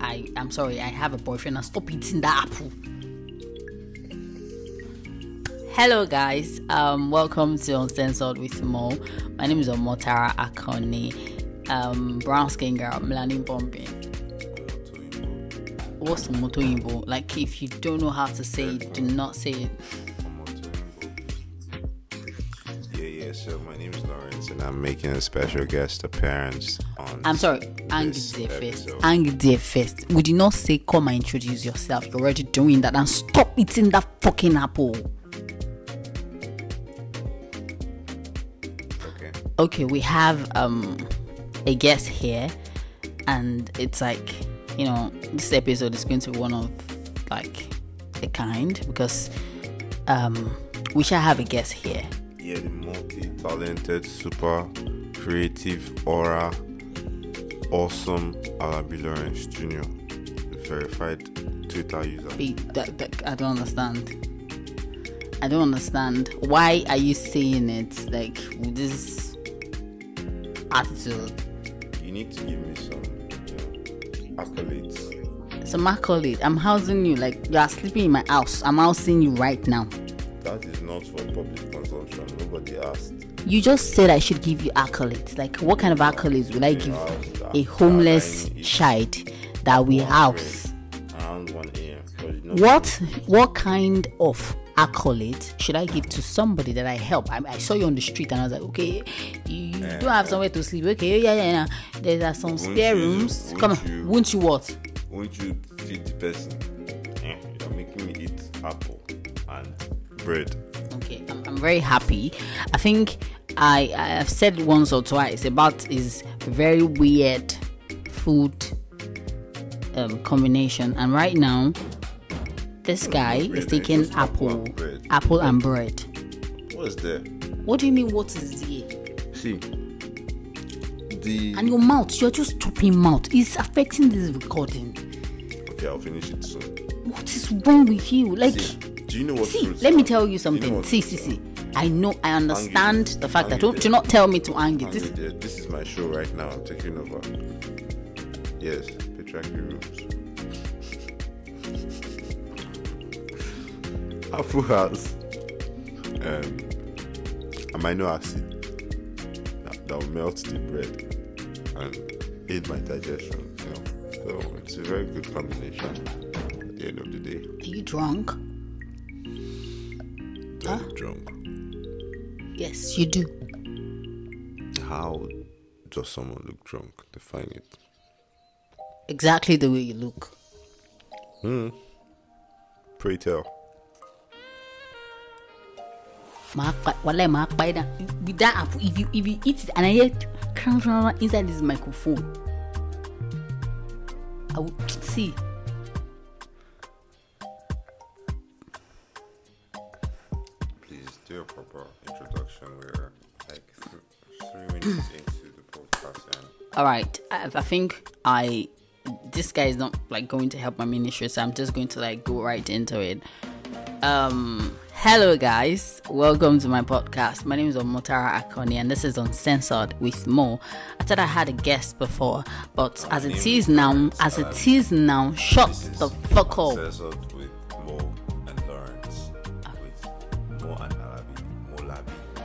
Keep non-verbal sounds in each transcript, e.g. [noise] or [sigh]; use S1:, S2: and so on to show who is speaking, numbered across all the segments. S1: I I'm sorry, I have a boyfriend and stop eating that apple. Hello guys, um welcome to Uncensored with Mo. My name is Omotara Akone, um brown skin girl, Melanie Bombing. What's Motoyimbo? Like if you don't know how to say it, do not say it.
S2: Yeah, yeah. So my name is Lawrence, and I'm making a special guest appearance on.
S1: I'm sorry, Ang
S2: this
S1: there first.
S2: episode.
S1: Ang there first. We did not say come and introduce yourself. You're already doing that and stop eating that fucking apple.
S2: Okay.
S1: Okay, we have um a guest here and it's like, you know, this episode is going to be one of like a kind because um we shall have a guest here.
S2: Yeah, the multi-talented, super creative, aura, awesome Alabi Lawrence Jr., the verified Twitter user.
S1: Be- that- that- I don't understand. I don't understand. Why are you saying it like with this attitude?
S2: You need to give me some you know, accolades.
S1: So my colleague, I'm housing you like you are sleeping in my house. I'm housing you right now.
S2: That is not for public consumption. Nobody asked.
S1: You just said I should give you accolades. Like what kind of accolades would I give a homeless child that we house?
S2: Around 1 a.m. but you know-
S1: What what kind of accolade should I give to somebody that I help? I, I saw you on the street and I was like, okay, you
S2: Eh.
S1: don't have somewhere to sleep. Okay, yeah, yeah, yeah. There are some spare
S2: you-
S1: rooms.
S2: won't
S1: Come on,
S2: you-
S1: won't you what?
S2: won't you feed the person? Eh, You're making me eat apple and bread.
S1: Okay, I'm, I'm very happy. I think I I've said once or twice about his very weird food um, combination, and right now this guy is
S2: Really?
S1: taking
S2: Just apple
S1: apple,
S2: and bread.
S1: apple and bread.
S2: What is there?
S1: What do you mean? What is here?
S2: See, the
S1: And your mouth, you're just chopping mouth. It's affecting this recording.
S2: okay, I'll finish it soon.
S1: What is wrong with you? Like.
S2: See, do you know what?
S1: See,
S2: fruits
S1: let me
S2: are?
S1: tell
S2: Do
S1: you
S2: know
S1: something.
S2: what
S1: See,
S2: fruits
S1: see,
S2: are?
S1: see. I know, I understand the fact that
S2: Angry
S1: don't,
S2: there.
S1: do not tell me to hang it.
S2: Hang
S1: This,
S2: it there. This is my show right now. I'm taking over. Yes, patriarchy [laughs] rules. Apple has um, amino acid that, that will melt the bread and aid my digestion. You know, so it's a very good combination. At the end of the day,
S1: are you drunk?
S2: I'm drunk.
S1: Yes, you do.
S2: How does someone look drunk? Define it.
S1: Exactly the way you look.
S2: Pray tell.
S1: Ma pa- wallahi, ma pa ida. With that apple, if you if you eat it and I hear it [laughs] crunch, crunch, crunch inside this microphone, I will see.
S2: Please do a proper introduction. We're like th- three minutes into the podcast, and
S1: All right, I, I think I this guy is not like going to help my ministry, so I'm just going to like go right into it. Um, hello guys, welcome to my podcast. My name is Omotara Akoni, and this is Uncensored with Mo. I thought I had a guest before, but as
S2: name
S1: it
S2: is
S1: is now,
S2: Lawrence
S1: as it
S2: Alabi.
S1: is now, shut
S2: this is
S1: the fuck up.
S2: Uncensored with Mo and Lawrence, with Mo and Alabi, Mo Labi.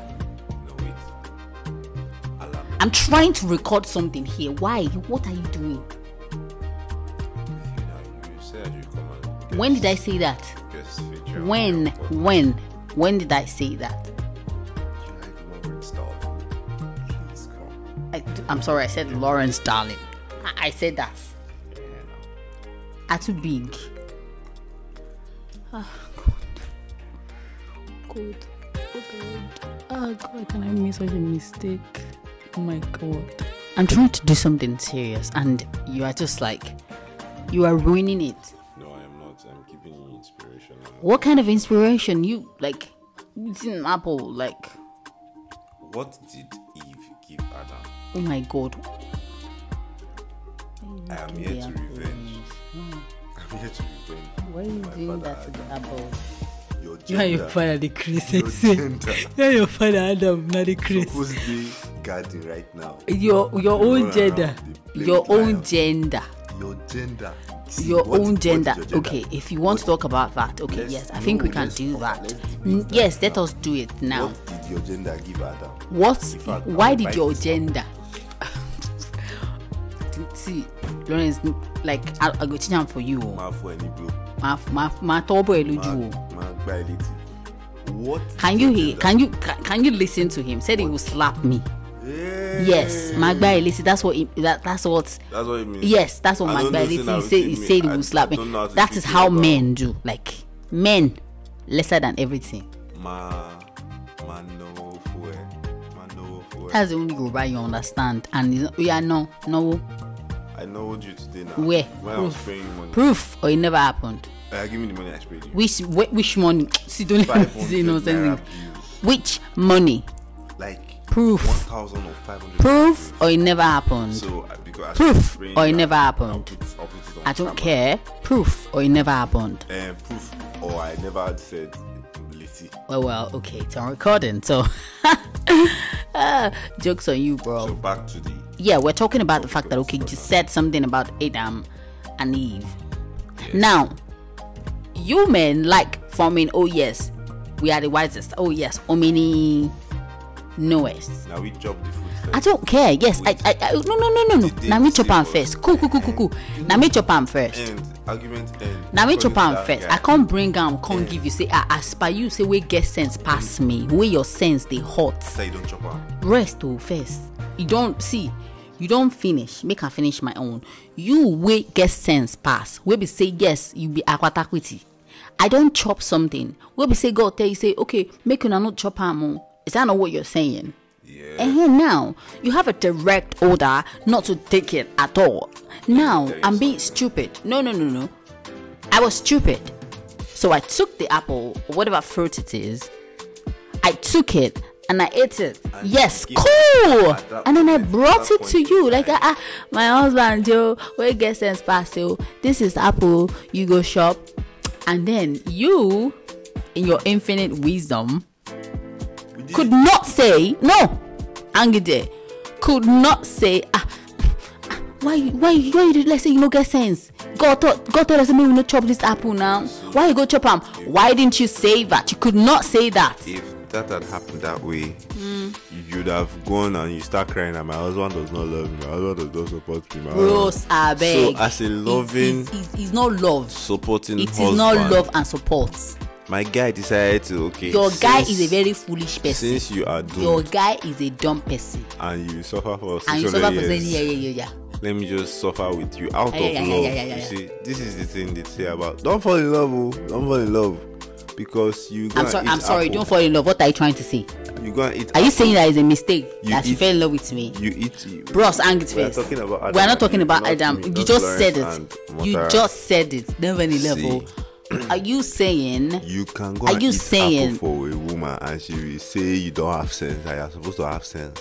S2: No wait, Alabi.
S1: I'm trying to record something here. Why? What are you doing?
S2: You know, you said you come and guest,
S1: When did I say that?
S2: guest feature on
S1: When?
S2: your podcast.
S1: When? When did I say that?
S2: You like Lawrence, darling. Please come.
S1: I, am sorry, I said Lawrence, darling. I, I said that.
S2: Yeah, no.
S1: Are too big. Oh, Ah, God. God. Oh, God. Oh, God. Can I make such a mistake? Oh, my God. I'm trying to do something serious, and you are just like, you are ruining it.
S2: No, I am not. I'm keeping you inspiration. I'm-
S1: What kind of inspiration? You, like, it's an apple, like,
S2: What did Eve give Adam?
S1: oh, my God.
S2: I am here to revenge. I'm here to revenge.
S1: Hmm. Why are you doing
S2: father
S1: that to the apple?
S2: Your gender.
S1: You are your father, the Chris.
S2: Your
S1: [laughs]
S2: gender.
S1: You are your father, Adam, not the Chris.
S2: Who's the garden right now?
S1: your your
S2: You run
S1: own
S2: around
S1: gender
S2: uh, the plague
S1: your own
S2: lion.
S1: gender
S2: your gender. See,
S1: your
S2: what-
S1: own
S2: what is
S1: gender.
S2: your
S1: okay, if you want to talk about that, okay,
S2: Let's-
S1: yes, I think
S2: no,
S1: we can
S2: let's
S1: do
S2: talk-
S1: that.
S2: let's do
S1: N-
S2: that
S1: yes, let
S2: now.
S1: us do it now.
S2: What did your gender give Adam?
S1: What?
S2: In fact, I
S1: Why
S2: will
S1: did
S2: buy
S1: your
S2: this.
S1: gender? [laughs] See, Lawrence, like I, I go change am for you. o.
S2: Máa fún ẹ ní bro.
S1: Ma, ma, ma tọ́bọ̀ ẹ
S2: Máa-
S1: lójú o.
S2: máa gbá ẹ létí. What did
S1: Can
S2: your
S1: you hear?
S2: gender-
S1: Can you can, can you listen to him? Said he will slap me.
S2: Hey!
S1: Yes, Magba Elisi. That's what he, that that's what.
S2: That's what it means.
S1: Yes, that's what
S2: I don't
S1: Magba
S2: know, since I
S1: Elisi
S2: was
S1: said. He
S2: kid,
S1: said he
S2: I-
S1: will slap
S2: I
S1: me.
S2: don't know how to
S1: That
S2: speak
S1: is how
S2: Yoruba.
S1: men do. Like men, lesser than everything.
S2: Máa- máa náwó fún ẹ. Máa náwó fún ẹ.
S1: That's the only Yoruba you understand. And you know- yeah, no, no
S2: I knowed you today now.
S1: Where?
S2: When I was
S1: Proof.
S2: paying you money.
S1: proof, or it never happened.
S2: Uh, give me the money I sprayed
S1: [laughs]
S2: you.
S1: Which wh- which money? [laughs] See, don't say
S2: 500
S1: no
S2: naira
S1: sense.
S2: bills.
S1: Which money?
S2: Like
S1: Proof.
S2: 1,000 or 500.
S1: Proof
S2: bills.
S1: or it never happened.
S2: So I- because I
S1: Proof,
S2: was spraying
S1: or it
S2: you,
S1: never
S2: I'll
S1: happened.
S2: put- I'll put it on
S1: I don't
S2: camera.
S1: care. Proof or it never happened.
S2: Uh, proof or I never had said ability.
S1: Oh well, okay, it's on recording, so [laughs] Ah, jokes on you,
S2: So
S1: bro.
S2: back to the
S1: Yeah, we're talking about the fact that okay, you said something about Adam and Eve. Now, you men like forming. Oh yes, we are the wisest. Oh yes, omini knowest.
S2: now we chop the food.
S1: I
S2: first.
S1: don't care. Yes, I, I, I no, no, no, no, no.
S2: Did they
S1: Now me chop
S2: say
S1: am
S2: what?
S1: first. Cool, cool, cool, cool, cool. Now me chop am first.
S2: End argument end.
S1: Now me
S2: According
S1: chop
S2: to
S1: am
S2: that
S1: first.
S2: guy,
S1: I can't bring am, can't give you. Say I aspire you. Say we get sense pass me. Where your sense they hot.
S2: Say you don't chop am.
S1: Rest oh first. You don't see. You don't finish. Make I finish my own. You we get sense pass. We be say yes. You be aquataquity. I don't chop something. We be say God tell you say okay. Make una not chop am. oh. Is that not what you're saying?
S2: Yeah.
S1: And here now, you have a direct order not to take it at all. Now,
S2: There is
S1: I'm being stupid. No, no, no, no. I was stupid. So I took the apple, or whatever fruit it is, I took it and I ate it.
S2: And
S1: yes,
S2: you give
S1: cool.
S2: at that
S1: And then I
S2: moment,
S1: brought
S2: that
S1: it to
S2: point
S1: you.
S2: in
S1: Like,
S2: time.
S1: ah, ah, my husband, Joe, where get sense past you. This is apple, you go shop. And then you, in your infinite wisdom,
S2: We did
S1: could
S2: it.
S1: not say no angide could not say ah ah, why you why you why you dey let's say you no get sense god thought god tell us make we no chop this apple now why you go chop am why didn't you say that you could not say that
S2: If that had happened that way,
S1: Hmm.
S2: you'd have gone and you start crying. And my husband does not love me. My husband does not support me. My
S1: bros abeg
S2: So as a loving,
S1: it's, it's, it's not love
S2: supporting
S1: it is
S2: husband,
S1: not love and support
S2: My guy decided to okay.
S1: your guy
S2: since-
S1: is a very foolish person
S2: since you are doomed
S1: your guy is a dumb person
S2: and you suffer for
S1: and you
S2: 600
S1: suffer for saying
S2: years.
S1: yeah yeah yeah yeah
S2: let me just suffer with you out
S1: Yeah,
S2: of
S1: yeah, yeah,
S2: love.
S1: yeah, yeah, yeah.
S2: You see, this is the thing they say about don't fall in love, oh, don't fall in love, because you.
S1: i'm
S2: gonna
S1: sorry
S2: eat
S1: i'm sorry
S2: apple.
S1: don't fall in love what are you trying to say
S2: You gonna eat.
S1: Are you
S2: apple.
S1: saying that it's a mistake
S2: You
S1: that she
S2: eat-
S1: fell in love with me?
S2: you eat? You,
S1: Bros, hang it
S2: We are
S1: first.
S2: talking about Adam
S1: We are not
S2: and
S1: talking
S2: Eve,
S1: about
S2: not
S1: Adam.
S2: me,
S1: You
S2: not
S1: just
S2: Lawrence
S1: said
S2: and
S1: it. You
S2: Montara.
S1: just said it. Never any
S2: See.
S1: level. Are you saying
S2: You can go
S1: Are
S2: and
S1: you
S2: eat
S1: saying-
S2: apple for a woman, and she will say you don't have sense. I am supposed to have sense.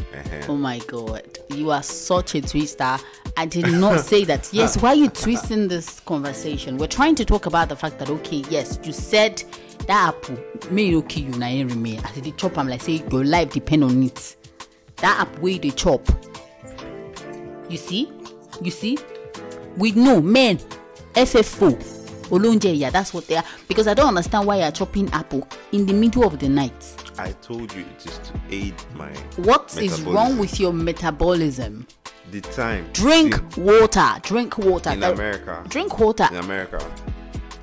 S2: uh
S1: Oh my god, you are such a twister. I did not say that. Yes, why are you twisting this conversation? We're trying to talk about the fact that okay, yes, you said that apple may no kill you na him remain. As they chop, I'm like say your life depend on it. That apple way they chop. You see? You see? We know men, FFO, Olonje, yeah, that's what they are. Because I don't understand why you're chopping apple in the middle of the night.
S2: I told you it is to aid my.
S1: What is wrong
S2: metabolism.
S1: with your metabolism?
S2: the time?
S1: drink
S2: See,
S1: water drink water
S2: in
S1: That-
S2: America.
S1: drink water
S2: in America,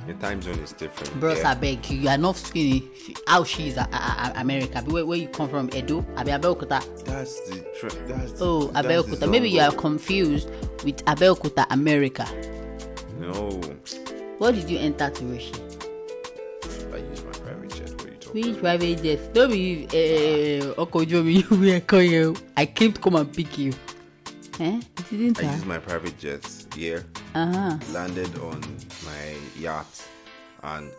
S2: the time zone is different.
S1: bros
S2: Yeah.
S1: abeg you are not skinny how she is uh, uh, uh, america Abi, where, where you come from edo abi abeokuta
S2: That's the tra- that's the,
S1: oh
S2: that's the
S1: abeokuta maybe you are
S2: jungle.
S1: confused with abeokuta america
S2: No,
S1: what did you enter to reach
S2: I use my private jet. What are you talking?
S1: which private jet no be uh, ọkọ ojú omi [laughs] you were call you i came to come and pick you eh didn't
S2: I
S1: i
S2: used my private jet. Yeah,
S1: uh-huh.
S2: landed on my yacht, and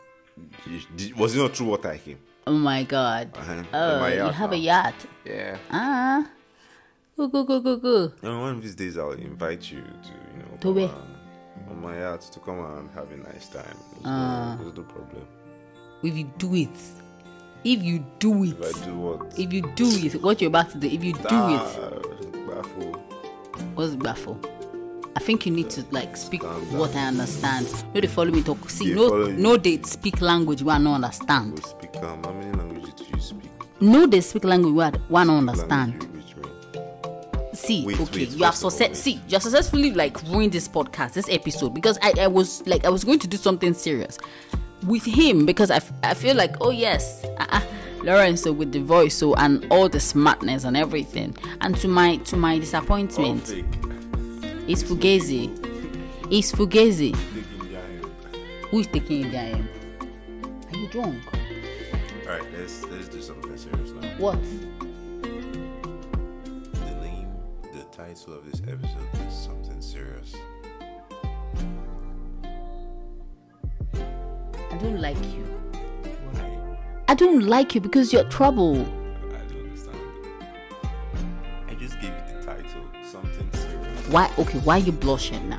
S2: it- it- was it not true water I came?
S1: oh my god
S2: Uh-huh. In
S1: oh
S2: my
S1: you
S2: yacht
S1: have a
S2: now.
S1: yacht
S2: Yeah.
S1: ah go go go go go
S2: And one of these days I'll invite you to you know
S1: To
S2: come
S1: where?
S2: and- on my yacht to come and have a nice time. There's,
S1: Ah.
S2: no, there's no problem.
S1: if you do it if you do it
S2: If I do what?
S1: if you do it what you're about to do if you do it
S2: Ah, baffle.
S1: what's baffle I think you need to like speak
S2: Understand that.
S1: what I understand. No, they follow me talk. See,
S2: They
S1: no,
S2: follow you.
S1: no, they speak language where I don't understand.
S2: We speak um, how many languages do you speak?
S1: No, they speak language where I- where I don't understand.
S2: Language, which one?
S1: See,
S2: Wait,
S1: okay,
S2: wait,
S1: you have
S2: first of all,
S1: success.
S2: wait.
S1: See, you have successfully like ruined this podcast, this episode, because I, I was like, I was going to do something serious with him because I, f- I feel like, oh yes, uh-uh, Lorenzo with the voice, so and all the smartness and everything, and to my to my
S2: All
S1: disappointment,
S2: fake.
S1: it's Fugazi, it's Fugazi.
S2: Taking behind.
S1: Who is taking it behind? Are you drunk?
S2: All right, let's let's do something serious now.
S1: What?
S2: The name, the title of this episode is something serious.
S1: I don't like you.
S2: Why?
S1: I don't like you because you're trouble.
S2: I don't understand. I just gave you the title, something serious.
S1: Why? Okay, why you blushing now?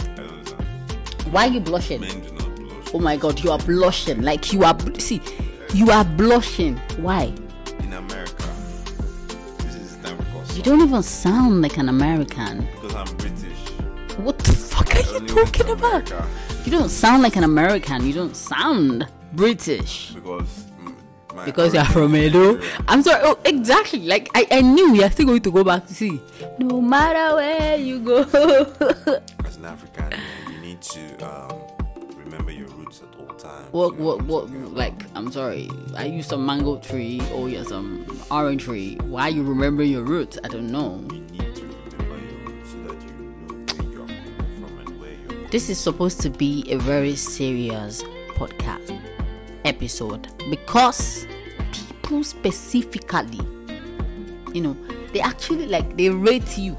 S2: I don't understand.
S1: Why you blushing?
S2: Men do not blush.
S1: oh my god you are blushing like you are bl- see you are blushing why
S2: In America, this is Namco
S1: you
S2: song
S1: don't even sound like an american
S2: because I'm British.
S1: what the fuck
S2: I
S1: are you
S2: only went to
S1: talking about
S2: America
S1: you don't sound like an american you don't sound british
S2: because mm, my
S1: because you're
S2: origin
S1: from
S2: is
S1: Edo.
S2: Nigerian.
S1: I'm sorry. Oh, exactly. Like I, I knew you're still going to go back to see. No matter where you go. [laughs]
S2: As an African, man, you need to um, remember your roots at all times.
S1: What,
S2: you know
S1: what,
S2: I'm
S1: what,
S2: talking about?
S1: like, I'm sorry, are you some mango tree or you're some orange tree? Why you remember your roots? I don't know.
S2: You need to remember your roots so that you know where you're coming from and where you're going.
S1: This is supposed to be a very serious podcast episode because people specifically, you know, they actually like they rate you.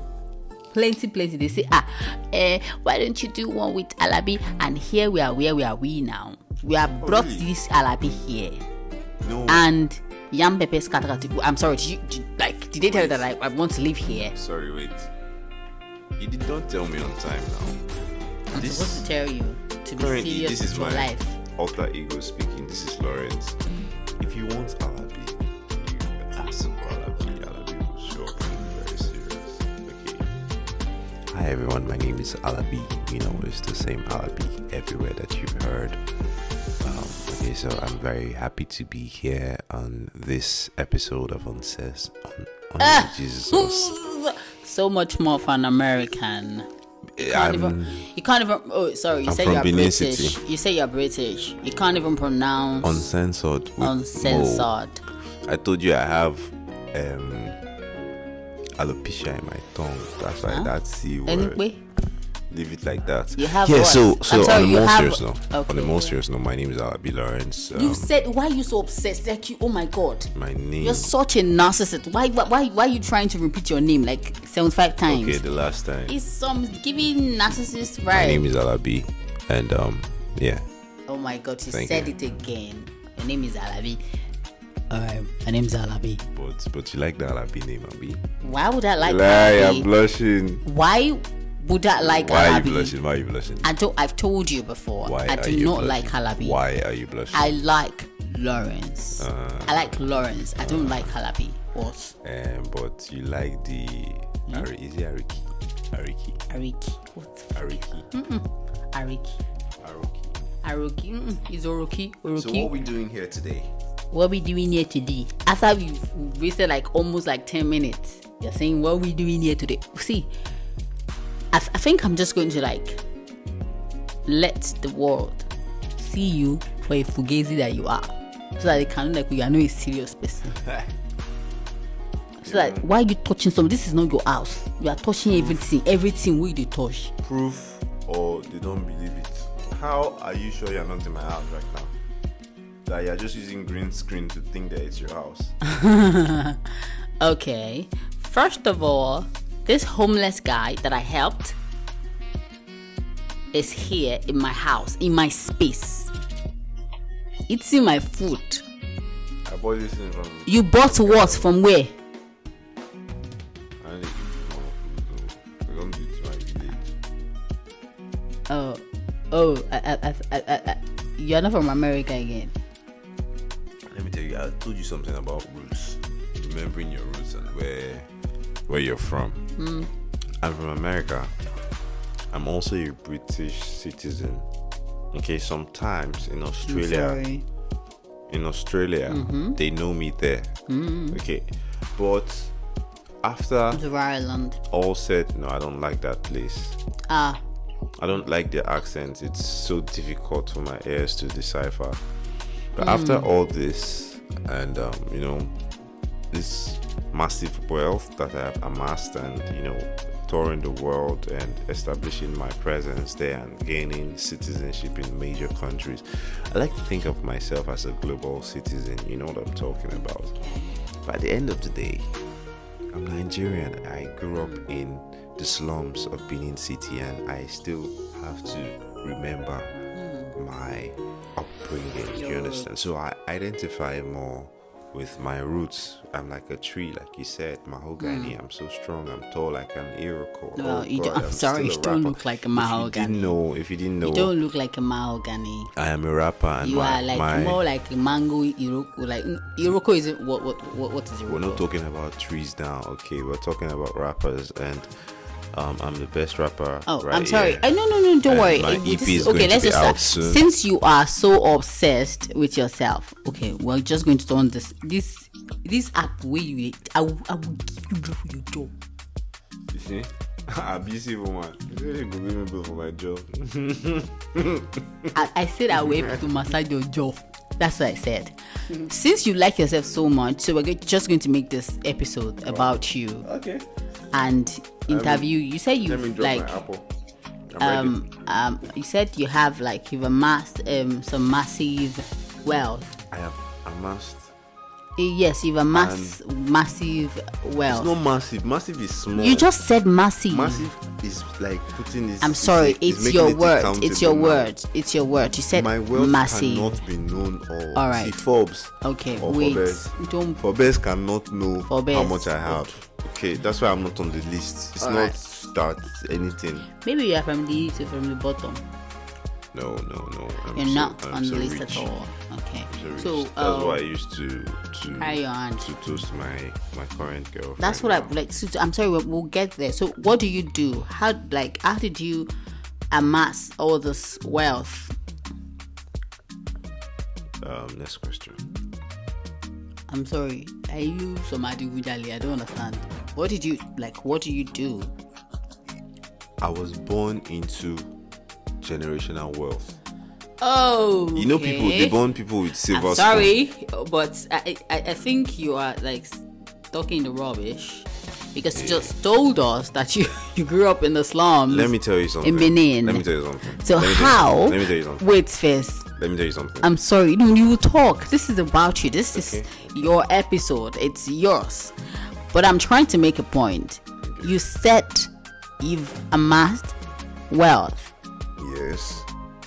S1: Plenty, plenty. They say, ah, eh, why don't you do one with Alabi? And here we are, where we are, we now. We have brought
S2: really?
S1: this Alabi here.
S2: No,
S1: And Yam Pepe Skatakatiku. I'm sorry, did you, did- like, did they tell you that like, I want to live here?
S2: sorry, wait. You did not tell me on time now.
S1: I'm supposed to tell you to be
S2: Currently,
S1: serious
S2: this is
S1: with your
S2: my
S1: life.
S2: alter ego speaking. This is Lawrence. If you want Alabi, you ask for Alabi. Alabi will show up and be very serious. Okay. Hi everyone, my name is Alabi. You know, it's the same Alabi everywhere that you've heard. Um, okay, so I'm very happy to be here on this episode of Unsays
S1: [laughs]
S2: on, on [laughs] Jesus. Sauce.
S1: Ah. so much more for an American. Can't
S2: I'm-
S1: even, you can't even. Oh, sorry. You
S2: I'm
S1: say
S2: from
S1: you're
S2: Benin
S1: British.
S2: City.
S1: You say you're British. You can't even pronounce
S2: uncensored. with Mo.
S1: uncensored.
S2: I told you I have um, alopecia in my tongue. That's why that C word.
S1: Anyway,
S2: Leave it like that.
S1: You have
S2: yeah.
S1: what?
S2: So
S1: I'm
S2: so
S1: sorry,
S2: on the
S1: you
S2: most
S1: have-
S2: serious note, on
S1: Okay.
S2: the most serious note, my name is Alabi Lawrence. Um,
S1: you said why you so obsessed? Like you, oh my god,
S2: my name.
S1: you're such a narcissist. Why, why, why, why are you trying to repeat your name like seventy-five times?
S2: okay, the last time.
S1: It's some giving narcissist
S2: my
S1: right.
S2: name is Alabi, and um, yeah.
S1: Oh my god, you
S2: Thank
S1: said
S2: you.
S1: it again. Your name is Alabi. Alright, my name is Alabi.
S2: But but you like the Alabi name, Abi?
S1: Why would I like
S2: Lie, I'm
S1: Alabi?
S2: blushing.
S1: Why would I like
S2: Why are you
S1: Alabi?
S2: blushing? Why are you blushing?
S1: I don't. I've told you before.
S2: Why
S1: I
S2: are
S1: do
S2: you
S1: not
S2: blushing?
S1: like Halabi.
S2: Why are you blushing?
S1: I like Lawrence.
S2: Uh.
S1: I like Lawrence. I don't like Halabi. What?
S2: um, but you like the Ari, is it Ariki? Ariki?
S1: Ariki. What?
S2: Ariki?
S1: Ariki.
S2: Aroki.
S1: Aroki. Mm, Is Oroki? Oroki.
S2: So what we doing here today?
S1: what we doing here today after we've we've wasted like almost like 10 minutes you're saying what we doing here today see I, th- I think i'm just going to like let the world see you for a fugazi that you are so that they can know like you are not a serious person so like why are you touching something this is not your house you are touching everything everything we they touch
S2: Proof or they don't believe it. How are you sure you're not in my house right now? That you're just using green screen to think that it's your house.
S1: Okay. First of all, this homeless guy that I helped is here in my house, in my space, eating my food.
S2: I bought this thing from
S1: You bought what from where?
S2: I don't think it's from- so I don't do it to my village.
S1: Oh, oh, I, I, I, I, I, uh, you're not from America again.
S2: Let me tell you, I told you something about roots. Remembering your roots and where where you're from. I'm from America. I'm also a British citizen. Okay, sometimes in Australia,
S1: Sorry.
S2: in Australia, they know me there. Okay, but after
S1: The Ireland.
S2: all said, no, I don't like that place.
S1: Ah,
S2: I don't like their accents. It's so difficult for my ears to decipher. But after all this, and um, you know, this massive wealth that I have amassed, and you know, touring the world and establishing my presence there and gaining citizenship in major countries, I like to think of myself as a global citizen. You know what I'm talking about. By the end of the day, I'm Nigerian. I grew up in the slums of Benin City, and I still have to remember
S1: Hmm.
S2: my upbringing. You understand? So I identify more with my roots. I'm like a tree, like you said, mahogany. I'm so strong. I'm tall, like an Iroquois.
S1: Hmm. well,
S2: Oh
S1: you
S2: God,
S1: don't, I'm, sorry, you
S2: still a
S1: don't
S2: rapper.
S1: look like a
S2: If you
S1: mahogany.
S2: didn't know, if you didn't know,
S1: You don't look like a mahogany.
S2: I am a rapper, and
S1: You
S2: Oh. my,
S1: are like
S2: my
S1: more like a mango iroko. Like iroko is what what what, what is iroko?
S2: We're not talking about trees now, okay? We're talking about rappers, and um, I'm the best rapper.
S1: Oh,
S2: right
S1: I'm sorry.
S2: here.
S1: I, no, no, no. Don't
S2: And
S1: worry.
S2: my
S1: Uh,
S2: EP
S1: this
S2: is
S1: okay,
S2: going to
S1: let's
S2: be
S1: just
S2: out
S1: uh,
S2: soon.
S1: since you are so obsessed with yourself. Okay, we're just going to turn this this this app where you I, will- I will give you blow for your job.
S2: You see, [laughs] abusive woman. You say you go give me blow for my job.
S1: I, I said I will help to massage your jaw. That's what I said.
S2: Mm-hmm.
S1: Since you like yourself so much, so we're go- just going to make this episode about you
S2: [laughs] okay.
S1: and interview. you said you
S2: Let me drop
S1: like
S2: my apple. I'm
S1: um um you said you have like you've amassed um some massive wealth.
S2: ready. I have amassed.
S1: Yes, you've amassed massive
S2: It's
S1: wealth.
S2: not massive. Massive is small.
S1: oh. you just said massive.
S2: massive is like putting this.
S1: I'm sorry,
S2: is
S1: it's
S2: making
S1: your
S2: it
S1: word. It's
S2: accountable
S1: your
S2: now.
S1: word. It's your word. You said
S2: My wealth
S1: massive.
S2: cannot be known all.
S1: All right.
S2: See, Forbes.
S1: Okay,
S2: or
S1: wait.
S2: Forbes.
S1: Don't.
S2: Forbes cannot know
S1: Forbes.
S2: how much I have. Okay, that's why I'm not on the list. It's not that anything.
S1: Maybe you are from the so from the bottom.
S2: No, no, no. I'm
S1: You're
S2: so-
S1: not
S2: I'm
S1: on
S2: so
S1: the list
S2: rich.
S1: at all. Okay.
S2: I'm So, rich.
S1: So
S2: that's why I
S1: um,
S2: used to to
S1: carry your hand.
S2: to toast my my current girlfriend.
S1: that's what I
S2: now.
S1: like. So, I'm sorry. We'll, we'll get there. So what do you do? How like how did you amass all this wealth?
S2: Um, next question.
S1: I'm sorry. Are you somebody Wujali? I don't understand. What did you like? What do you do?
S2: I was born into generational wealth.
S1: Oh,
S2: You know, people they born people with silver.
S1: I'm
S2: spoon.
S1: sorry, but I, I I think you are like talking the rubbish because you just told us that you [laughs] you grew up in the slums.
S2: Let me tell you something.
S1: Benin.
S2: Let me tell you something.
S1: So
S2: Let me tell you
S1: how? um,
S2: something. Let me tell you something.
S1: Wait first.
S2: Let me tell you something.
S1: I'm sorry. No, you talk. This is about you. This
S2: Okay.
S1: is your episode. It's yours. But I'm trying to make a point. You said you've amassed wealth.
S2: yes.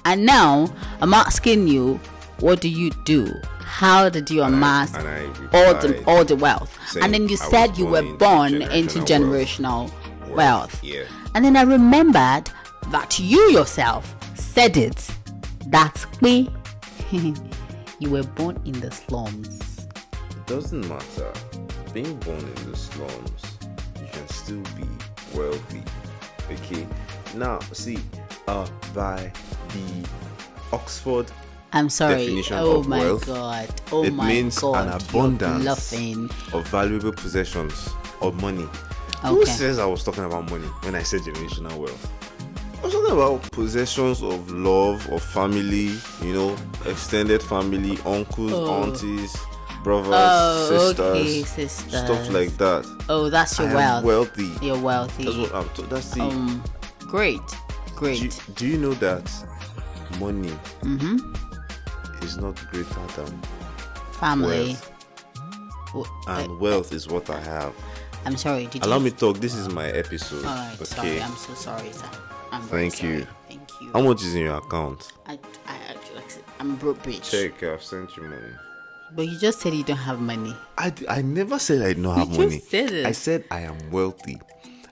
S1: And now I'm asking you, what do you do? How did you amass
S2: and I
S1: all the
S2: replied,
S1: all the wealth?
S2: saying
S1: And then you
S2: I was
S1: said you
S2: born
S1: were
S2: into
S1: born into
S2: generational
S1: generational wealth.
S2: Yeah.
S1: And then I remembered that you yourself said it. That's me. [laughs] you were born in the slums.
S2: doesn't matter. Being born in the slums, you can still be wealthy. Okay. Now, see, uh, by the Oxford,
S1: I'm sorry.
S2: Definition
S1: oh
S2: of
S1: my
S2: wealth,
S1: god. Oh
S2: it
S1: my
S2: means
S1: god.
S2: an
S1: You're
S2: abundance
S1: bluffing.
S2: of valuable possessions or money. Who
S1: Okay.
S2: says I was talking about money when I said generational wealth? I was talking about possessions of love, of family, you know, extended family, uncles, aunties, brothers,
S1: Oh, okay,
S2: sisters, stuff
S1: sisters.
S2: like that.
S1: Oh, that's your
S2: I am
S1: wealth.
S2: wealthy.
S1: You're wealthy.
S2: That's what I'm. talking. that's the.
S1: um, great,
S2: do, you,
S1: great.
S2: do you know that money
S1: Mm-hmm.
S2: is not greater than
S1: Family.
S2: wealth,
S1: W-
S2: and wealth is what I have.
S1: I'm sorry. Did
S2: Um, Allow
S1: you?
S2: me to talk. This is my episode.
S1: All right. Sorry. I'm so sorry, sir. I'm very
S2: Thank
S1: sorry.
S2: you.
S1: Thank you.
S2: How much is in your account?
S1: I, I, I, I'm a broke bitch.
S2: Check. I've sent you money.
S1: But you just said you don't have money.
S2: I, d- I never said I don't have
S1: just
S2: money.
S1: said it.
S2: I said I am wealthy.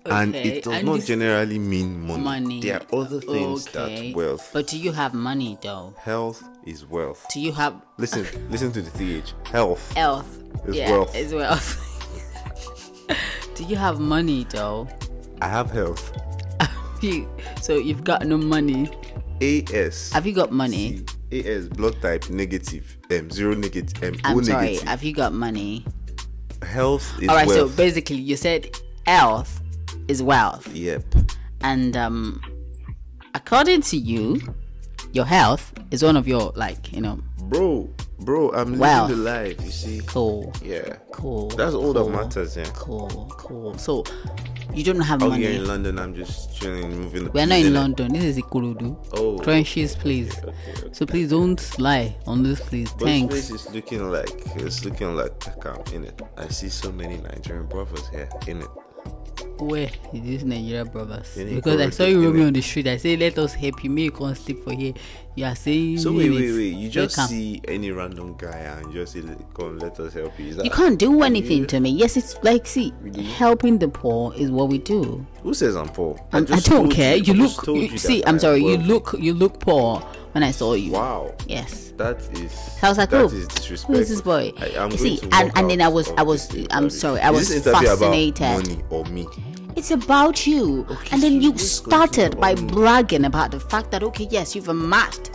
S2: And
S1: Okay,
S2: it does
S1: and
S2: not
S1: this-
S2: generally mean money.
S1: Money.
S2: There are other things
S1: Okay.
S2: that wealth.
S1: But do you have money though?
S2: health is wealth.
S1: Do you have
S2: Listen, listen to the th. Health.
S1: health?
S2: It's
S1: yeah, [laughs]
S2: wealth.
S1: it's wealth. do you have money though?
S2: I have health.
S1: You- so you've got no money.
S2: AS.
S1: Have you got money?
S2: AS blood type negative. Um, zero negative. Um,
S1: I'm
S2: O
S1: sorry.
S2: negative.
S1: Have you got money?
S2: Health is
S1: All right.
S2: wealth.
S1: So basically, you said health is wealth,
S2: yep.
S1: and um, according to you, your health is one of your like you know
S2: Bro, bro, I'm
S1: Wealth.
S2: living the life. You see.
S1: cool,
S2: Yeah.
S1: cool.
S2: That's all that
S1: cool,
S2: matters. Yeah.
S1: Cool, cool. So you don't have
S2: Out here in
S1: money.
S2: London, I'm just chilling, moving. the-
S1: We are not in
S2: living it.
S1: London. This is Ikorodu.
S2: Oh.
S1: Crunchies, please.
S2: okay,
S1: So please don't lie on this, please.
S2: But this
S1: Thanks.
S2: place is looking like it's looking like Takam in it. I see so many Nigerian brothers here in it.
S1: Where is this Nigeria brothers?
S2: They need
S1: Because I
S2: correct
S1: saw you
S2: it,
S1: roaming
S2: innit?
S1: on the street. I say let us help you. May you come sleep for here. You are saying
S2: So wait,
S1: it.
S2: wait, wait! You just
S1: Welcome.
S2: see any random guy and you just say, "Come, let us help you." Is that,
S1: You can't do
S2: Are
S1: anything
S2: you-
S1: to me. Yes, it's like see, helping the poor is what we do.
S2: Who says I'm poor?
S1: Um, I, I
S2: just
S1: don't
S2: told
S1: care. You
S2: I just
S1: look.
S2: told
S1: You,
S2: that
S1: see,
S2: I
S1: I'm
S2: am
S1: sorry. You
S2: wealthy.
S1: look. You look poor when I saw you.
S2: Wow,
S1: Yes.
S2: that is.
S1: I was like,
S2: that
S1: oh,
S2: is
S1: who
S2: disrespectful.
S1: is this boy?
S2: I, am
S1: You
S2: going
S1: see,
S2: to
S1: and-
S2: walk
S1: and then I
S2: out
S1: was-
S2: of
S1: I was-
S2: this
S1: I'm
S2: interview.
S1: sorry, I
S2: Is
S1: was
S2: this interview
S1: fascinated.
S2: About money or me?
S1: It's about you. and then
S2: so
S1: you
S2: this
S1: started
S2: question
S1: by
S2: on-
S1: bragging about the fact that, okay, yes, you've amassed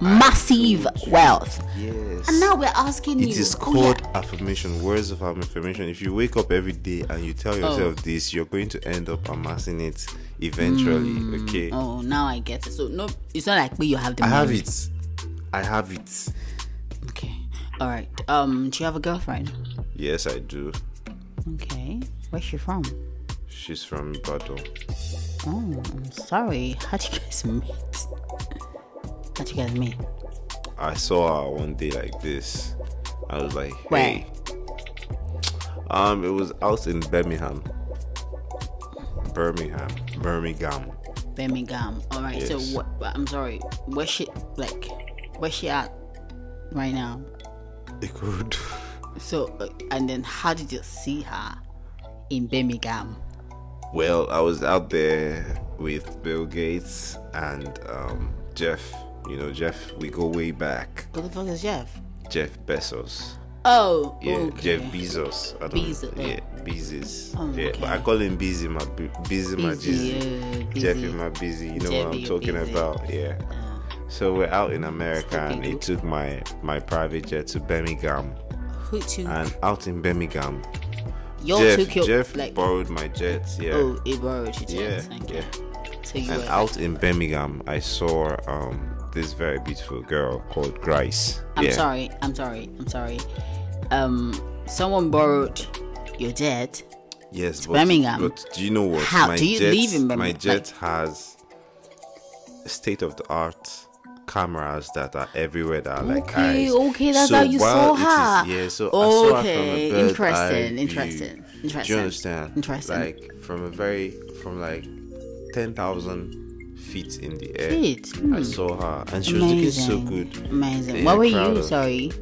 S1: massive
S2: told you.
S1: wealth.
S2: Yes.
S1: And now we're asking you.
S2: It is
S1: oh, yeah,
S2: called affirmation, words of affirmation. If you wake up every day and you
S1: Oh.
S2: tell yourself this, you're going to end up amassing it eventually. okay,
S1: Oh, Mm. now I get it. So, no, it's not like me, you have the
S2: I
S1: money.
S2: have it. I have it.
S1: Okay. All right. Um, do you have a girlfriend?
S2: Yes, I do.
S1: Okay. Where's she from?
S2: She's from Ibadan.
S1: Oh, I'm sorry. How'd you guys [laughs] meet? How'd you guys meet?
S2: I saw her one day like this. I was like,
S1: Where?
S2: hey. Um, it was out in Birmingham. Birmingham. Birmingham.
S1: Birmingham. All right. So,
S2: Yes.
S1: what? I'm sorry. Where's she? Like, where's she at right now?
S2: It could.
S1: So, uh, and then how did you see her in Birmingham?
S2: Well, I was out there with Bill Gates and um, Jeff. You know, Jeff, we go way back.
S1: What the fuck is Jeff?
S2: Jeff Bezos.
S1: Oh,
S2: Yeah,
S1: okay.
S2: Jeff Bezos. I don't
S1: Bezos.
S2: Yeah, Bezos.
S1: Oh,
S2: yeah, but
S1: okay.
S2: I call him Busy, my bu- Busy, my
S1: Busy,
S2: Jizzy.
S1: yeah, busy.
S2: Jeff and my Busy. You know what
S1: Jeffy,
S2: I'm
S1: you're
S2: talking
S1: busy.
S2: about. Yeah.
S1: Uh,
S2: So we're out in America, and
S1: Stupid.
S2: it took my my private jet to Birmingham,
S1: who took?
S2: and out in Birmingham,
S1: Y'all
S2: Uh, Jeff
S1: took your
S2: Jeff
S1: like.
S2: borrowed my jet. Yeah.
S1: Oh, it borrowed your
S2: yeah,
S1: chance. okay.
S2: yeah.
S1: So you
S2: And
S1: were.
S2: out in Birmingham, I saw um this very beautiful girl called Grace.
S1: I'm
S2: yeah.
S1: sorry. I'm sorry. I'm sorry. Um, someone borrowed your jet.
S2: Yes, but,
S1: Birmingham.
S2: But do you know what?
S1: How do you
S2: jet,
S1: live in Birmingham?
S2: My
S1: Like-
S2: jet has state of the art cameras that are everywhere that are like
S1: Okay,
S2: eyes.
S1: okay, that's
S2: So
S1: how you saw
S2: while it
S1: her.
S2: is- yeah, so I saw her from
S1: okay,
S2: a bird's eye
S1: interesting,
S2: view.
S1: interesting, interesting.
S2: Do you understand?
S1: Interesting.
S2: Like from a very from like ten thousand feet in the air.
S1: Feet,
S2: I
S1: hmm.
S2: saw her and she was
S1: Amazing.
S2: looking so good.
S1: Amazing.
S2: Yeah,
S1: what were
S2: proud
S1: you?
S2: of-
S1: Sorry.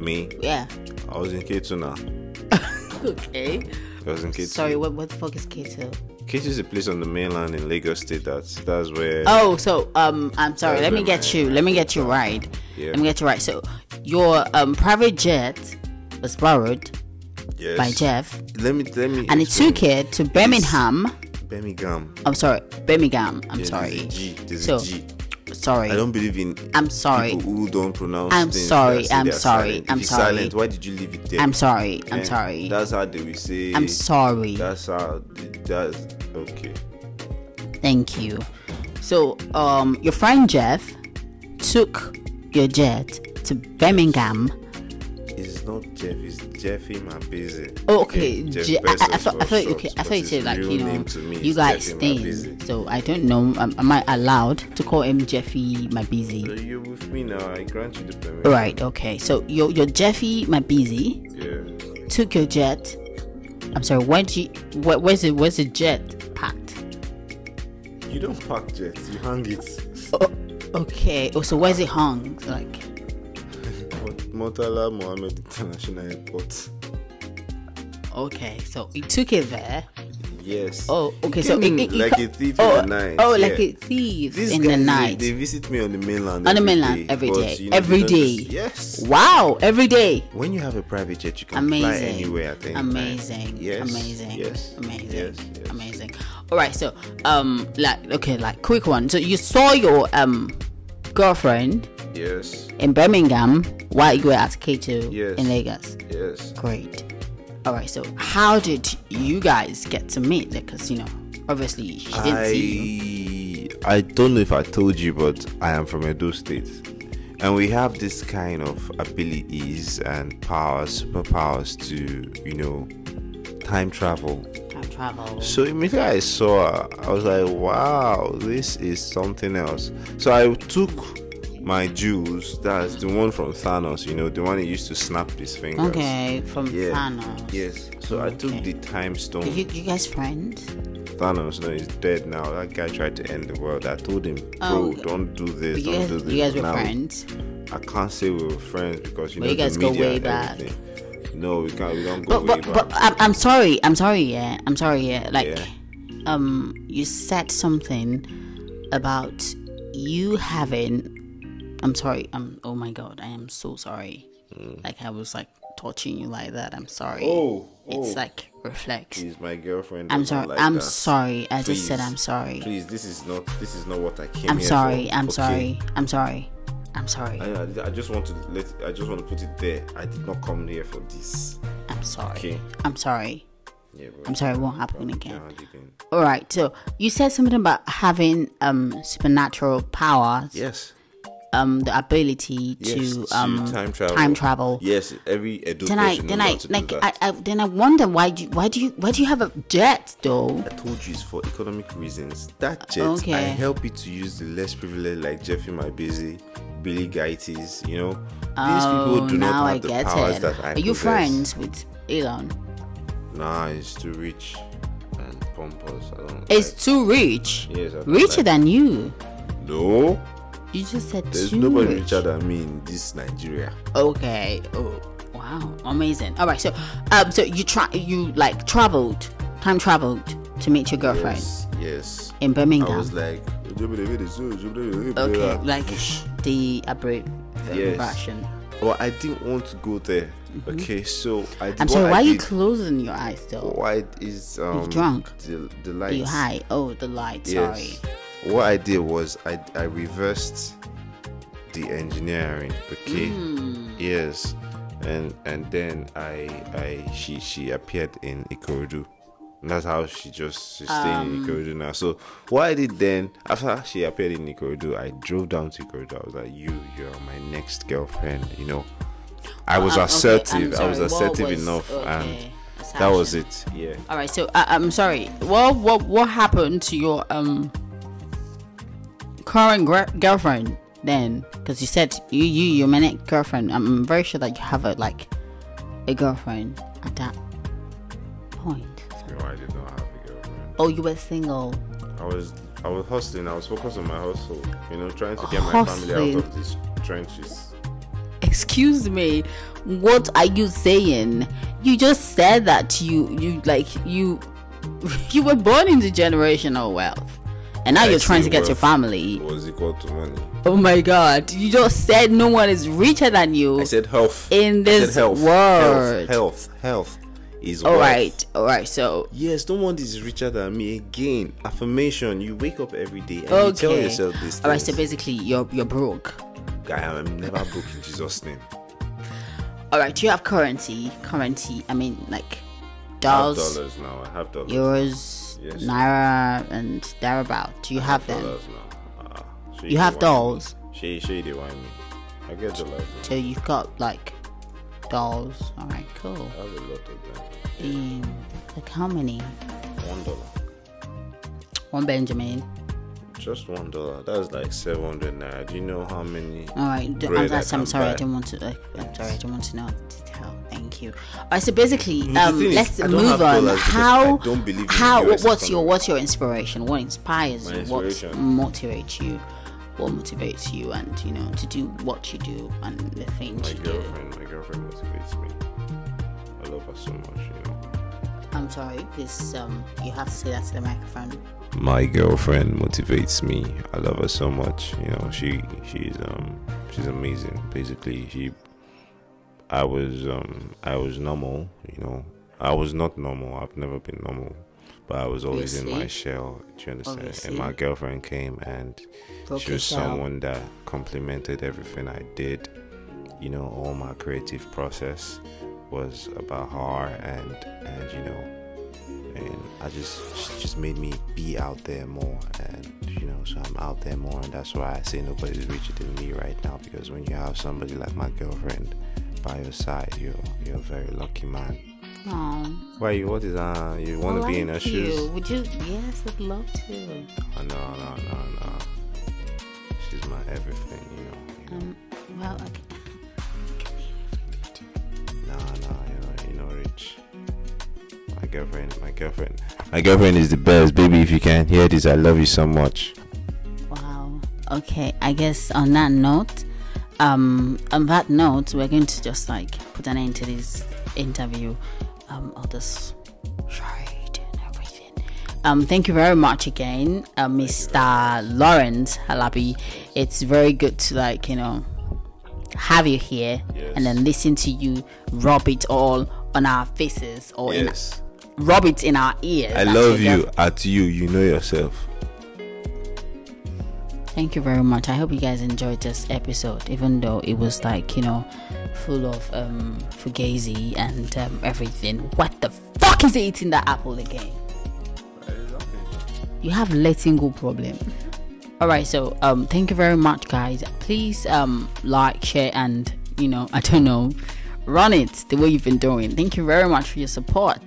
S2: Me,
S1: Yeah.
S2: I was in K2 now.
S1: Okay.
S2: I was in K2.
S1: Sorry. What, what the fuck is Kato?
S2: K2 is a place on the mainland in Lagos State. That's that's where.
S1: Oh, so um, I'm sorry. Let me
S2: Sorry,
S1: get
S2: man.
S1: you. Let me get you right.
S2: Yeah.
S1: Let me get you right. So your um private jet was borrowed
S2: yes.
S1: by Jeff,
S2: Let me let me.
S1: and it
S2: explain.
S1: took it to Birmingham.
S2: Birmingham.
S1: I'm sorry, Birmingham. I'm
S2: Yeah, There's a
S1: sorry.
S2: G. There's
S1: So-
S2: a G.
S1: Sorry.
S2: I don't believe in.
S1: I'm sorry.
S2: People who don't pronounce.
S1: I'm
S2: things
S1: sorry,
S2: that say
S1: I'm
S2: they are
S1: sorry,
S2: Silent.
S1: I'm
S2: if it's
S1: sorry.
S2: silent, why did you leave it there?
S1: I'm sorry. I'm
S2: Eh,
S1: sorry.
S2: That's how they will say.
S1: I'm sorry.
S2: That's how. That's okay.
S1: Thank you. So, um, your friend Jeff took your jet to Birmingham.
S2: It's not Jeff. It's Jeffy Mabese.
S1: Oh, okay.
S2: Jeff
S1: Je- I, I, I
S2: Bezos
S1: thought, I
S2: for
S1: thought,
S2: short,
S1: okay, I
S2: but
S1: thought you
S2: his
S1: said like
S2: real
S1: you know,
S2: name to me
S1: you
S2: is
S1: guys
S2: Jeffy
S1: staying.
S2: Mabese.
S1: So I don't know. Am, am I allowed to call him Jeffy my
S2: So
S1: busy?
S2: you're with me now. I grant you the permission.
S1: Right. Okay. So your your Jeffy my busy
S2: Yeah.
S1: took your jet. I'm sorry. Where'd you? Where, where's it? Where's the jet packed?
S2: You don't pack jets. You hang it.
S1: Oh, okay. Oh, so where's it hung? Like.
S2: Motala Mohammed International Airport.
S1: Okay. So he took it there.
S2: Yes.
S1: Oh, okay. So it, it, it
S2: Like
S1: co-
S2: a thief in
S1: oh,
S2: the night,
S1: Oh, like
S2: yeah.
S1: a thief
S2: These
S1: in
S2: guys,
S1: the
S2: they-
S1: night.
S2: They, visit me on the mainland.
S1: On the
S2: every
S1: mainland
S2: day,
S1: every
S2: but,
S1: day.
S2: you know,
S1: Every
S2: they don't
S1: day.
S2: just- yes.
S1: Wow, every day.
S2: When you have a private jet, you can fly
S1: Amazing.
S2: anywhere at any time.
S1: amazing.
S2: Yes.
S1: Amazing.
S2: Yes.
S1: Amazing.
S2: Yes. yes.
S1: Amazing. All right. So, um, like, okay, like, quick one. So you saw your um girlfriend
S2: Yes.
S1: in Birmingham while you were at K2
S2: Yes.
S1: in Lagos.
S2: Yes.
S1: Great. All right. So how did you guys get to meet? Because you know, obviously she didn't see you.
S2: I I don't know if I told you, but I am from Edo State, and we have this kind of abilities and powers, superpowers to you know time travel.
S1: Time travel.
S2: So immediately I saw her, I was like, wow, this is something else. So I took my jewels, that's the one from Thanos, you know, the one he used to snap his fingers.
S1: Okay, from
S2: Yeah.
S1: Thanos.
S2: Yes. So I took
S1: Okay.
S2: the time stone.
S1: Are you, you guys friends?
S2: Thanos no, he's dead now. That guy tried to end the world. I told him, bro,
S1: Oh,
S2: don't do
S1: You
S2: this, don't
S1: guys,
S2: do this.
S1: you guys were
S2: now,
S1: friends.
S2: I can't say we were friends because you
S1: But
S2: know
S1: you guys
S2: the
S1: go
S2: media
S1: way
S2: and
S1: back.
S2: everything. No, we can't. We don't go
S1: But
S2: way
S1: but,
S2: back.
S1: but I'm, I'm sorry. I'm sorry. Yeah, I'm sorry. Yeah, like,
S2: Yeah.
S1: um, you said something about you having. I'm sorry. I'm. Oh my god. I am so sorry. Like I was like touching you like that. I'm sorry.
S2: Mm. Oh,
S1: It's
S2: oh.
S1: like reflect.
S2: He's my girlfriend.
S1: I'm
S2: does not
S1: sorry.
S2: Like
S1: I'm
S2: that.
S1: sorry. I just said
S2: Please.
S1: I'm sorry.
S2: Please, this is not. This is not what I came.
S1: I'm
S2: here
S1: sorry.
S2: for.
S1: I'm
S2: Okay.
S1: sorry. I'm sorry. I'm sorry.
S2: I, I- I just want to let. I just want to put it there. I did not come here for this.
S1: I'm sorry.
S2: Okay.
S1: I'm sorry.
S2: Yeah, bro.
S1: I'm sorry. It won't happen again.
S2: Yeah, I didn't.
S1: All right. So you said something about having um supernatural powers.
S2: Yes.
S1: Um, the ability
S2: Yes.
S1: to um
S2: time travel.
S1: time travel.
S2: Yes. Every adult
S1: Then I
S2: person
S1: then
S2: knows
S1: I
S2: how to do
S1: like
S2: that.
S1: I, I then I wonder why do you, why do you why do you have a jet though?
S2: I told you it's for economic reasons. That jet,
S1: Okay.
S2: I help you to use the less privileged like Jeffrey Mabezi, Billy Gaitis, you know. These people do
S1: Oh, now
S2: not
S1: I
S2: have the
S1: get
S2: powers
S1: it.
S2: that I
S1: Are you
S2: possess.
S1: friends with Elon?
S2: Nah, it's too rich and pompous. I don't
S1: It's too rich.
S2: Yes, I feel
S1: richer
S2: like-
S1: than you.
S2: like- No,
S1: You just said
S2: there's
S1: too
S2: nobody
S1: rich.
S2: richer than me in this Nigeria.
S1: Okay. Oh, wow. Amazing. All right. So, um, so you try you like traveled, time traveled to meet your girlfriend
S2: Yes, yes.
S1: in
S2: I was
S1: Birmingham.
S2: like,
S1: okay,
S2: okay,
S1: like the abrev- abbreviation.
S2: But I didn't want to go there. Okay, so I. Did
S1: Mm-hmm. I'm
S2: what
S1: sorry.
S2: I
S1: Why are you
S2: did.
S1: closing your eyes though?
S2: White is um
S1: drunk?
S2: the, the
S1: Are you
S2: lights.
S1: high? Oh, the light. Sorry.
S2: Yes. What I did was I I reversed the engineering. Okay.
S1: Hmm.
S2: Yes. And and then I I she she appeared in Ikorodu. And that's how she just she's staying
S1: Um,
S2: in Ikorodu now. So what I did then after she appeared in Ikorodu, I drove down to Ikorodu. I was like, you you are my next girlfriend. You know. I was
S1: Um, okay, I'm
S2: assertive. I was
S1: sorry, what
S2: assertive
S1: was-
S2: enough,
S1: okay,
S2: and that was
S1: assertion.
S2: it. Yeah.
S1: All right. So uh, I'm sorry. Well, what what happened to your um current gr- girlfriend then? Because you said you you your minute girlfriend. I'm very sure that you have a like a girlfriend at that point.
S2: No, I did not have a girlfriend.
S1: Oh, you were single.
S2: I was I was hustling. I was focused on my hustle. You know, trying to get my family
S1: Hustling.
S2: out of these trenches.
S1: Excuse me. What are you saying? You just said that you you like you [laughs] you were born into generational wealth, and now you're
S2: Actually,
S1: trying to get your
S2: wealth
S1: family.
S2: was equal to money.
S1: Oh my god, you just said no one is richer than you.
S2: I said health.
S1: In
S2: I said
S1: this
S2: health,
S1: world.
S2: health, health, health is
S1: all
S2: wealth.
S1: right, all right, so
S2: Yes, no one is richer than me. Again, affirmation. You wake up every day and you
S1: okay.
S2: tell yourself this.
S1: all right, so basically you're you're broke.
S2: Guy, I'm never broke in Jesus' name.
S1: All right, do you have currency? Currency, I mean like
S2: I have
S1: dollars,
S2: dollars now. I have dollars.
S1: euros,
S2: Yes.
S1: naira, and thereabout. Do you
S2: I
S1: have them?
S2: dollars now. Ah, she
S1: You
S2: dey
S1: have
S2: whine.
S1: dolls,
S2: She she they want me. I get dollars.
S1: so you've got like dolls. All right, cool.
S2: I have a lot of
S1: Um,
S2: them.
S1: like how many?
S2: One dollar.
S1: One Benjamin.
S2: Just one dollar. That's like seven hundred naira. Do you know how many?
S1: All right, d- I'm,
S2: bread I
S1: that's, I'm
S2: can
S1: sorry. I
S2: buy?
S1: didn't want to. Like, I'm sorry. I didn't want to know the detail. Thank you. All right. So basically,
S2: the
S1: um,
S2: thing is,
S1: let's
S2: I don't
S1: move
S2: have
S1: on.
S2: dollars because
S1: How?
S2: I don't believe in
S1: how?
S2: the US
S1: what's your
S2: economy.
S1: What's your inspiration? What inspires
S2: My
S1: you? What
S2: inspiration?
S1: motivates you? What motivates you? And you know, to do what you do and the things
S2: My
S1: you do.
S2: girlfriend, my girlfriend motivates me. I love her so much, you know.
S1: I'm sorry, please. Um, you have to say that to the microphone.
S2: my girlfriend motivates me. I love her so much. You know, she she's um she's amazing. Basically, she I was um I was normal. You know, I was not normal. I've never been normal, but I was always in my
S1: Obviously.
S2: shell. Do you understand?
S1: Obviously.
S2: And my girlfriend came and
S1: Broke
S2: she
S1: your
S2: was
S1: shell.
S2: someone that complimented everything I did. You know, all my creative process was about her, and and you know, and I just she just made me be out there more, and you know, so I'm out there more, and that's why I say nobody's richer than me right now because when you have somebody like my girlfriend by your side, you're you're a very lucky man.
S1: Aw,
S2: Why you? What is uh? You
S1: Oh, I
S2: want to be in her
S1: like you.
S2: shoes?
S1: Would you? Yes, I'd love to.
S2: Oh, no, no, no, no. She's my everything, you know. You know.
S1: Um, well, okay.
S2: Nah, nah, you're, you're not rich. My girlfriend, my girlfriend, my girlfriend is the best, baby. If you can hear this, I love you so much.
S1: Wow. Okay, I guess on that note, um, on that note, we're going to just like put an end to this interview, um, all this charade and everything. Um, thank you very much again, uh, Mr. Lawrence Halabi. It's very good to like you know have you here and then listen to you rub it all on our faces or in,
S2: Yes,
S1: rub it in our ears.
S2: I love you. At you, you know yourself.
S1: Thank you very much. I hope you guys enjoyed this episode, even though it was like, you know, full of um fugazi and um, everything. What the fuck is he eating that apple again? You have letting go problem. Alright, so um thank you very much guys. Please um like, share and you know, [laughs] I don't know, run it the way you've been doing. Thank you very much for your support.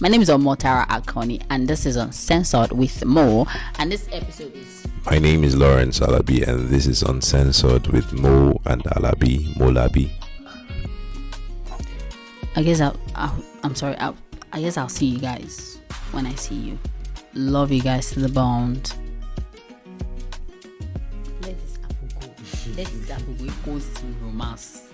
S1: My name is Omotara Akoni and this is Uncensored with Mo and this episode is
S2: My name is Lawrence Alabi, and this is Uncensored with Mo and Alabi, Molabi.
S1: I guess I'll, I'll I'm sorry. I'll, I guess I'll see you guys when I see you. Love you guys to the bone. Let this apple go. Let this apple go. It goes to romance.